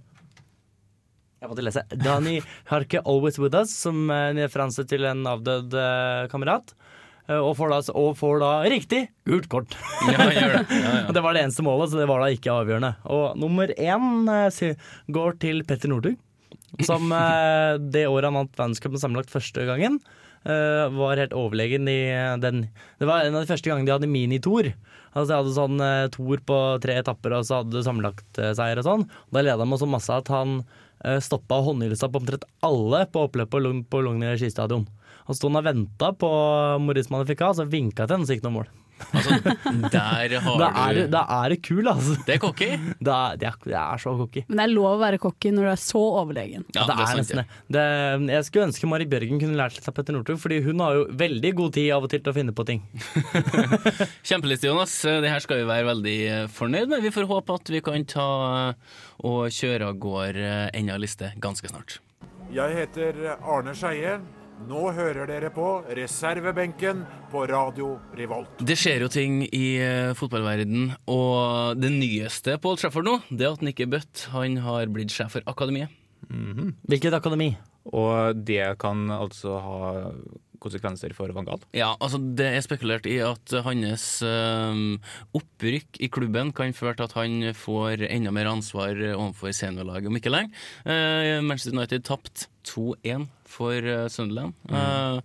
jeg måtte lese. Dani Harke Always With Us, som er en referanse til en avdød eh, kamerat. Eh, Og får, da, og får da riktig gult kort.
Ja, gjør det. Ja, ja.
Og det var det eneste målet, så det var da ikke avgjørende. Og nummer én eh, si- går til Petter Northug, som eh, det året han vant verdenscupen sammenlagt første gangen, eh, var helt overlegen i eh, den Det var en av de første gangene de hadde mini-tour. Altså De hadde sånn eh, tour på tre etapper, og så hadde de sammenlagt eh, seier og sånn. Og da leda han så masse at han eh, stoppa håndhilsa på omtrent alle på oppløpet på Lugn- på Lugner skistadion. Han sto og venta på Maurice Manifica, og så vinka til henne, så gikk det noe mål.
Altså, Der
Da
har
er, det,
du
da er det kul, altså.
Det er cocky.
Da, det, er, det er så cocky.
Men det er lov å være cocky når du er så overlegen.
Ja,
det er
sant,
nesten det. det. Jeg skulle ønske Mari Bjørgen kunne lært seg av Petter Northug, fordi hun har jo veldig god tid av og til til å finne på ting.
Kjempeliste, Jonas. Det her skal vi være veldig eh, fornøyd med. Vi får håpe at vi kan ta eh, og kjøre av gårde eh, enda en liste ganske snart.
Jeg heter Arne Skeie. Nå hører dere på reservebenken på Radio Revolt.
Det skjer jo ting i eh, fotballverden, og det nyeste på Old Trafford nå, det er at Nicky Butt han har blitt sjef for Akademiet.
Hvilket akademi?
Eh, Og det kan altså ha konsekvenser for Van Gaal.
Ja, altså Det er spekulert i at hans eh, opprykk i klubben kan føre til at han får enda mer ansvar overfor seniorlaget om ikke lenge. Eh, Manchester United tapte 2-1 for eh, Sunderland. Eh,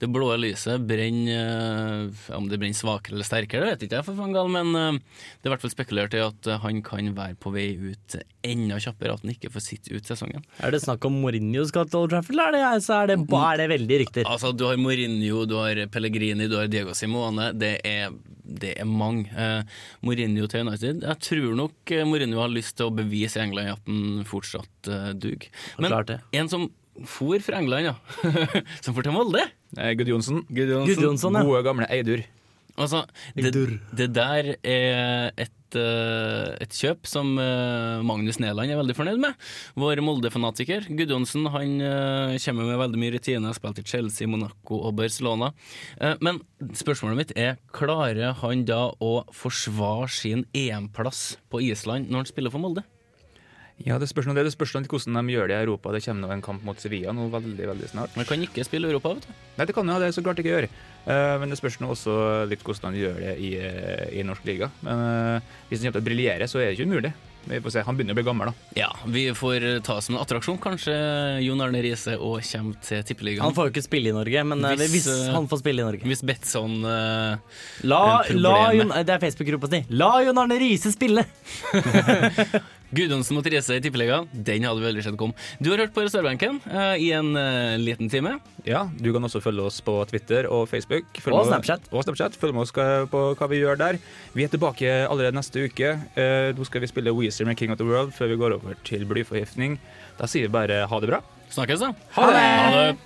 det blå lyset brenner eh, Om det brenner svakere eller sterkere, det vet ikke jeg, for Van Gaal, men eh, det er i hvert fall spekulert i at eh, han kan være på vei ut enda kjappere, at han ikke får sitte ut sesongen.
Er det snakk om Mourinho skal til Old Trafford, eller er det, så er det, ba- er det veldig rykter?
Altså, du har Mourinho, du har Pellegrini, du har Diego Simone. Det er, det er mange. Eh, Mourinho til United. Jeg tror nok eh, Mourinho har lyst til å bevise i England at han fortsatt eh, duger. Men
klart det.
en som for fra England, ja. som for til Molde.
Eh, Gudjonsen.
Gudjonsson, ja.
Gode, gamle Eidur.
Altså, det, det der er et, eh, et kjøp som eh, Magnus Neland er veldig fornøyd med. Vår Molde-fanatiker. Gudjonsen han eh, kommer med veldig mye rutine. har Spilt i Chelsea, Monaco og Barcelona. Eh, Men spørsmålet mitt er klarer han da å forsvare sin EM-plass på Island når han spiller for Molde?
Ja, det spørs noe, det. Det spørs noe hvordan de gjør det i Europa. Det kommer nå en kamp mot Sevilla nå veldig veldig snart.
Han kan ikke spille Europa, vet du.
Nei, det kan jo det så klart ikke gjøre. Eh, men det spørs nå også litt hvordan de gjør det i, eh, i norsk liga. Men eh, hvis han kommer til å briljere, så er det ikke umulig. Vi får se. Han begynner å bli gammel, da.
Ja, vi får eh, ta som en attraksjon. Kanskje Jon Arne Riise òg kommer til
Han
Tippeligaen.
får jo ikke spille i Norge, men eh,
Hvis,
hvis,
eh,
han får spille i Norge
Hvis Betson eh,
La,
problemet.
la Jon, Det er Facebook-gruppa si. La Jon Arne Riise spille!
Gudjonsen mot Riise i Tippeligaen, den hadde vi aldri sett komme. Du har hørt på reservebenken eh, i en eh, liten time.
Ja, Du kan også følge oss på Twitter og Facebook.
Og
med-
Snapchat.
Og Snapchat. Følg med oss eh, på hva vi gjør der. Vi er tilbake allerede neste uke. Eh, nå skal vi spille Weezer med King of the World før vi går over til blyforgiftning. Da sier vi bare ha det bra.
Snakkes, da.
Ha det!
Ha det.